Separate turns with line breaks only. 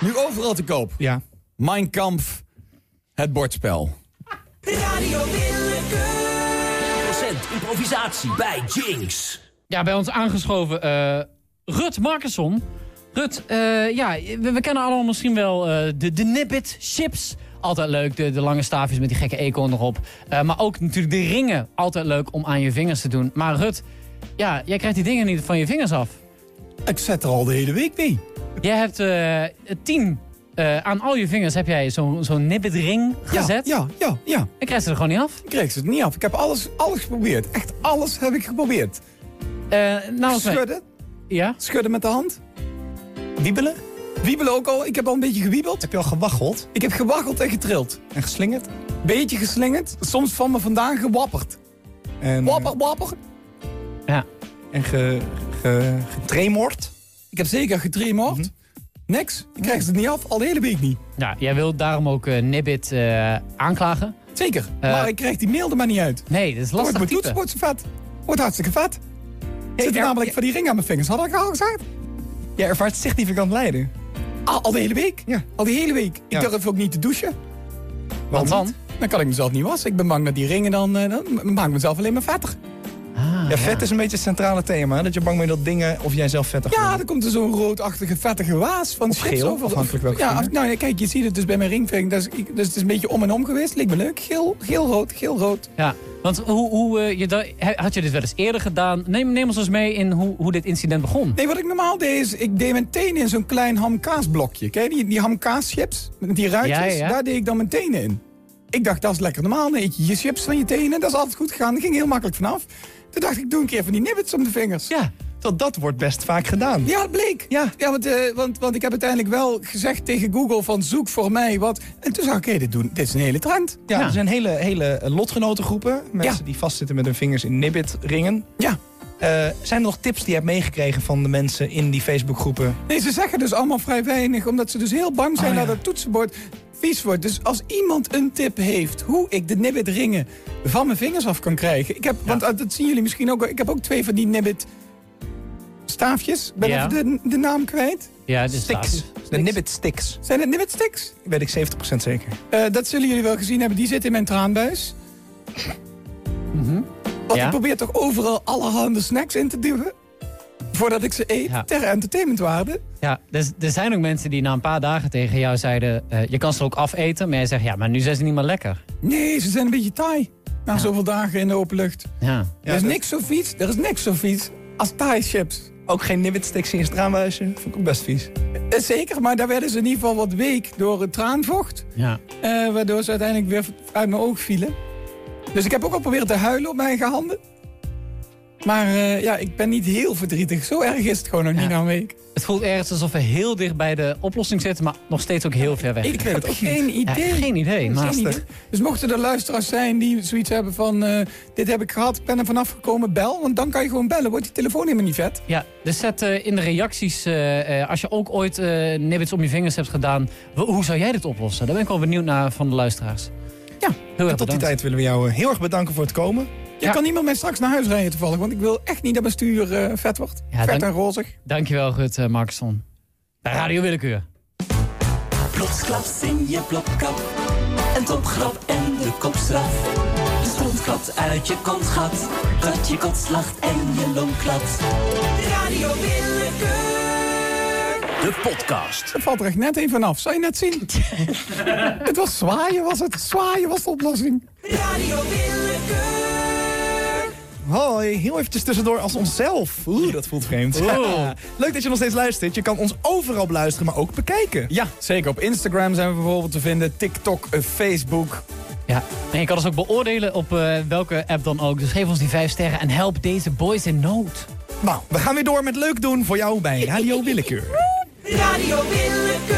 Nu overal te koop.
Ja.
Mein Kampf, het bordspel.
Radio Willekeur. Procent improvisatie bij Jinx.
Ja, bij ons aangeschoven eh Rut Markesson. Rut, eh, ja, we, we kennen allemaal misschien wel eh, de, de nibbit chips. Altijd leuk, de, de lange staafjes met die gekke eekhoorn erop. Eh, maar ook natuurlijk de ringen. Altijd leuk om aan je vingers te doen. Maar Rut, ja, jij krijgt die dingen niet van je vingers af.
Ik zet er al de hele week mee.
Jij hebt eh, tien, eh, aan al je vingers heb jij zo'n zo'n nibbit ring
Ja,
gezet.
Ja, ja, ja.
En krijg je er gewoon niet af.
Ik kreeg ze het niet af. Ik heb alles, alles geprobeerd. Echt alles heb ik geprobeerd.
Eh nou,
Schudden,
Ja?
schudden met de hand.
Wiebelen?
Wiebelen ook al. Ik heb al een beetje gewiebeld.
Heb je al gewaggeld
Ik heb gewaggeld en getrild.
en geslingerd?
Beetje geslingerd. Soms van me vandaan gewapperd.
En, eh,
Wapper, wapper.
Ja.
en ge, ge, getremord?
Ik heb zeker getremord.
Mhm.
Niks. Ik krijg ze het niet af. Al de hele week niet.
ja, jij wilt daarom ook eh, nibbit eh, aanklagen.
Zeker. maar ik krijg die mail er maar niet uit.
Nee, dat
Dan
is
Wordt
lastig
mijn
typen.
toetsenbord zo vet. Wordt hartstikke vet. Zit er
ja,
namelijk
ja.
van die ring aan mijn vingers. Had ik al gezegd?
Jij ervaart significant lijden.
Al, al de hele week.
Ja.
Al de hele week. Ik
Ja.
durf ook niet te douchen.
Want dan?
Dan kan ik mezelf niet wassen. Ik ben bang dat die ringen dan... eh, dan maak ik mezelf alleen maar vetter.
Ah,
Ja, vet is een beetje het centrale thema. hè? Dat je bang bent dat dingen of jij zelf vettig
Ja,
wordt.
dan komt er zo'n roodachtige vettige waas van
Of
chips
geel,
over.
afhankelijk welke
ja,
vinger.
af- nou, ja, kijk, je ziet het dus bij mijn ringvinger. Dus, ik- dus het is een beetje om en om geweest. Leek me leuk. Geel, geel, rood, geel, rood.
ja. Want hoe, hoe, eh, je da- he- had je dit wel eens eerder gedaan? Neem, neem ons eens mee in hoe, hoe dit incident begon.
Nee, wat ik normaal deed is, ik deed meteen in zo'n klein hamkaasblokje. Ken je die, die hamkaaschips? Met die ruitjes,
Ja, ja, ja.
daar deed ik dan mijn tenen in. Ik dacht, dat is lekker normaal. Dan eet je je chips van je tenen. Dat is altijd goed gegaan. Dat ging heel makkelijk vanaf. Toen dacht ik, doe een keer van die nibbits om de vingers.
Ja.
Dat, dat wordt best vaak gedaan.
Ja, het bleek.
Ja.
want, eh, want, want ik heb uiteindelijk wel gezegd tegen Google van zoek voor mij wat. En toen zag ik, hé, dit, doen, dit is een hele trend.
Ja,
Ja.
er zijn hele, hele lotgenotengroepen. Mensen
Ja.
die vastzitten met hun vingers in nibbit-ringen.
Ja.
Eh, zijn er nog tips die je hebt meegekregen van de mensen in die Facebookgroepen?
Nee, ze zeggen dus allemaal vrij weinig, omdat ze dus heel bang zijn
Oh, ja.
dat het toetsenbord vies wordt. Dus als iemand een tip heeft hoe ik de nibbit ringen van mijn vingers af kan krijgen. Ik heb, Want eh, dat zien jullie misschien ook. wel. Ik heb ook twee van die nibbit staafjes. Ik Ben
Ja.
even de, de naam kwijt.
Ja, dit is
Sticks.
laat.
De nibbit-sticks.
Zijn het nibbit sticks?
Weet ik 70% zeker.
Eh, dat zullen jullie wel gezien hebben. Die zit in mijn traanbuis. Want
Mhm. Ja.
ik probeer toch overal allerhande snacks in te duwen. Voordat ik ze eet.
Ja.
Ter entertainmentwaarde.
Ja, dus, er zijn ook mensen die na een paar dagen tegen jou zeiden... eh, je kan ze ook afeten, maar jij zegt... ja, maar nu zijn ze niet meer lekker.
Nee, ze zijn een beetje taai. Na zoveel dagen in de open lucht.
Ja.
Ja,
er is
dat-
niks zo vies. Er is niks zo vies als Thai chips.
Ook geen nibbit-sticks in je straanbuisje. Vond ik ook best vies.
Eh, Zeker, maar daar werden ze in ieder geval wat week door het traanvocht.
ja.
eh, waardoor ze uiteindelijk weer uit mijn oog vielen. Dus ik heb ook al proberen te huilen op mijn eigen handen. Maar eh, ja, ik ben niet heel verdrietig. Zo erg is het gewoon nog
Ja.
niet na een week.
Het voelt ergens alsof we heel dicht bij de oplossing zitten... maar nog steeds ook heel ver weg.
Ik heb geen
Ja,
idee.
geen idee. Maar...
Geen idee. Dus mochten er luisteraars zijn die zoiets hebben van... eh, dit heb ik gehad, ik ben er vanaf gekomen, bel. Want dan kan je gewoon bellen, wordt die telefoon helemaal niet vet.
Ja, dus zet eh, in de reacties, eh, eh, als je ook ooit eh nibbits om je vingers hebt gedaan, w- hoe zou jij dit oplossen? Daar ben ik wel benieuwd naar van de luisteraars.
Ja,
heel erg
Tot die
bedankt.
tijd willen we jou eh, heel erg bedanken voor het komen.
Je
Ja.
kan niemand mij straks naar huis rijden toevallig. Want ik wil echt niet dat mijn stuur eh, vet wordt.
Ja,
vet
dank-
en rozig.
Dankjewel, Rut eh, Markson. Bij Radio Willekeur.
Plotsklap in je plopkap. En topgrap en de kopstraf. Je stront klapt uit je kontgat. Dat je kot slacht en je loon klapt. Radio Willekeur. De podcast.
Er valt er echt net één vanaf. Zou je net zien? het was zwaaien, was het. Zwaaien was de oplossing.
Radio Willekeur.
Hoi, heel eventjes tussendoor als onszelf. Oeh, dat voelt vreemd.
Oeh.
Leuk dat je nog steeds luistert. Je kan ons overal beluisteren, maar ook bekijken.
Ja, zeker. Op Instagram zijn we bijvoorbeeld te vinden. TikTok, eh, Facebook.
Ja, en je kan ons ook beoordelen op eh, welke app dan ook. Dus geef ons die vijf sterren en help deze boys in nood.
Nou, we gaan weer door met leuk doen voor jou bij Radio Willekeur.
Radio Willekeur.